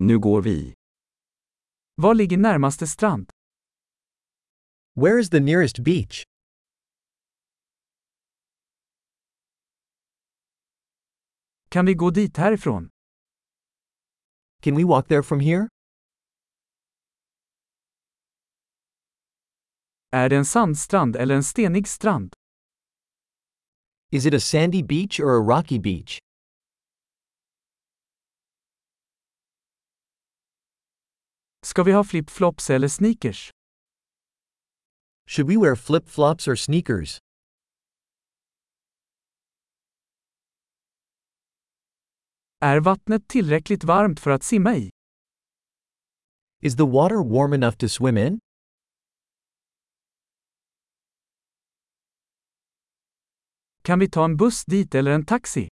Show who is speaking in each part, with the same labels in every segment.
Speaker 1: Nu går vi.
Speaker 2: Var ligger närmaste strand?
Speaker 3: Where is the nearest beach?
Speaker 2: Kan vi gå dit härifrån?
Speaker 3: Can we walk there from here?
Speaker 2: Är det en sandstrand eller en stenig strand?
Speaker 3: Is it a sandy beach or a rocky beach?
Speaker 2: Ska vi ha flip-flops eller sneakers?
Speaker 3: Should we wear flip flops or sneakers?
Speaker 2: Är vattnet tillräckligt varmt för att simma i?
Speaker 3: Is the water warm enough to swim in?
Speaker 2: Kan vi ta en buss dit eller en taxi?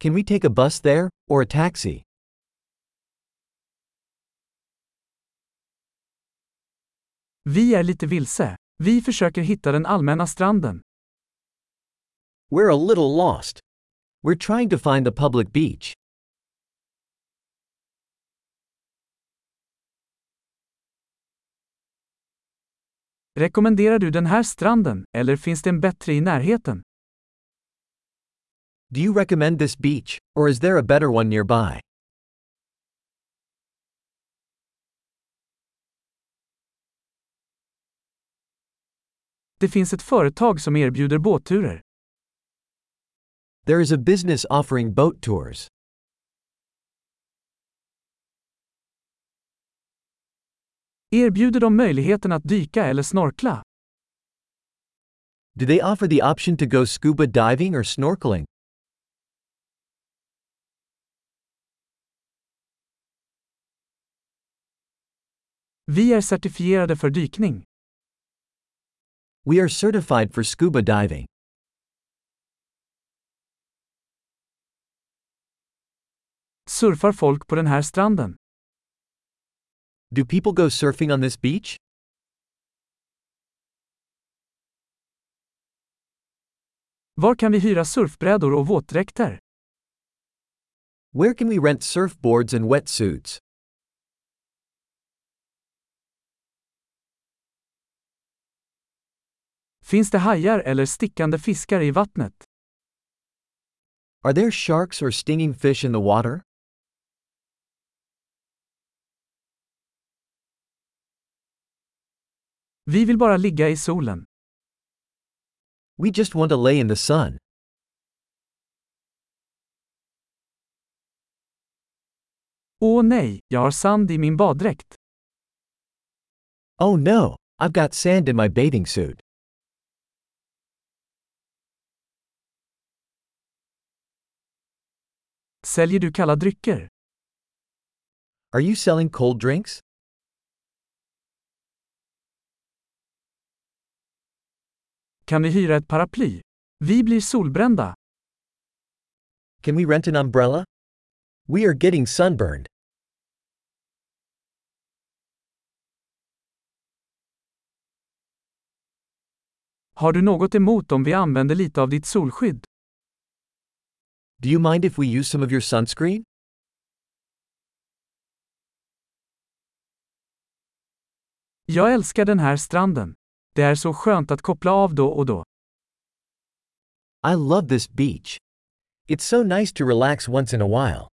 Speaker 3: Can we take a bus there, or a taxi?
Speaker 2: Vi är lite vilse. Vi försöker hitta den allmänna stranden.
Speaker 3: We're a little lost. We're trying to find the public beach.
Speaker 2: Rekommenderar du den här stranden, eller finns det en bättre i närheten?
Speaker 3: Do you recommend this beach, or is there a better one nearby?
Speaker 2: Det finns ett företag som erbjuder båtturer.
Speaker 3: There is a business offering boat tours.
Speaker 2: Erbjuder de möjligheten att dyka eller snorkla?
Speaker 3: Do they offer the option to go scuba diving or snorkeling?
Speaker 2: Vi är certifierade för dykning.
Speaker 3: We are certified for scuba diving.
Speaker 2: Surfar folk på den här stranden?
Speaker 3: Do people go surfing on this beach?
Speaker 2: Var kan vi hyra surfbrädor och våtdräkter?
Speaker 3: Where can we rent surfboards and wetsuits?
Speaker 2: Finns det hajar eller stickande fiskar i vattnet?
Speaker 3: Are there sharks or stinging fish in the water?
Speaker 2: Vi vill bara ligga i solen.
Speaker 3: We just want to lay in the sun.
Speaker 2: Åh nej, jag har sand i min baddräkt.
Speaker 3: Oh no, I've got sand in my bathing suit.
Speaker 2: Säljer du kalla drycker?
Speaker 3: Are you selling cold drinks?
Speaker 2: Kan vi hyra ett paraply? Vi blir solbrända.
Speaker 3: Can we rent an umbrella? We are getting sunburned.
Speaker 2: Har du något emot om vi använder lite av ditt solskydd?
Speaker 3: Do you mind if we use some of your sunscreen?
Speaker 2: Jag älskar den här stranden. Det är så skönt att koppla av då och då.
Speaker 3: I love this beach. It's so nice to relax once in a while.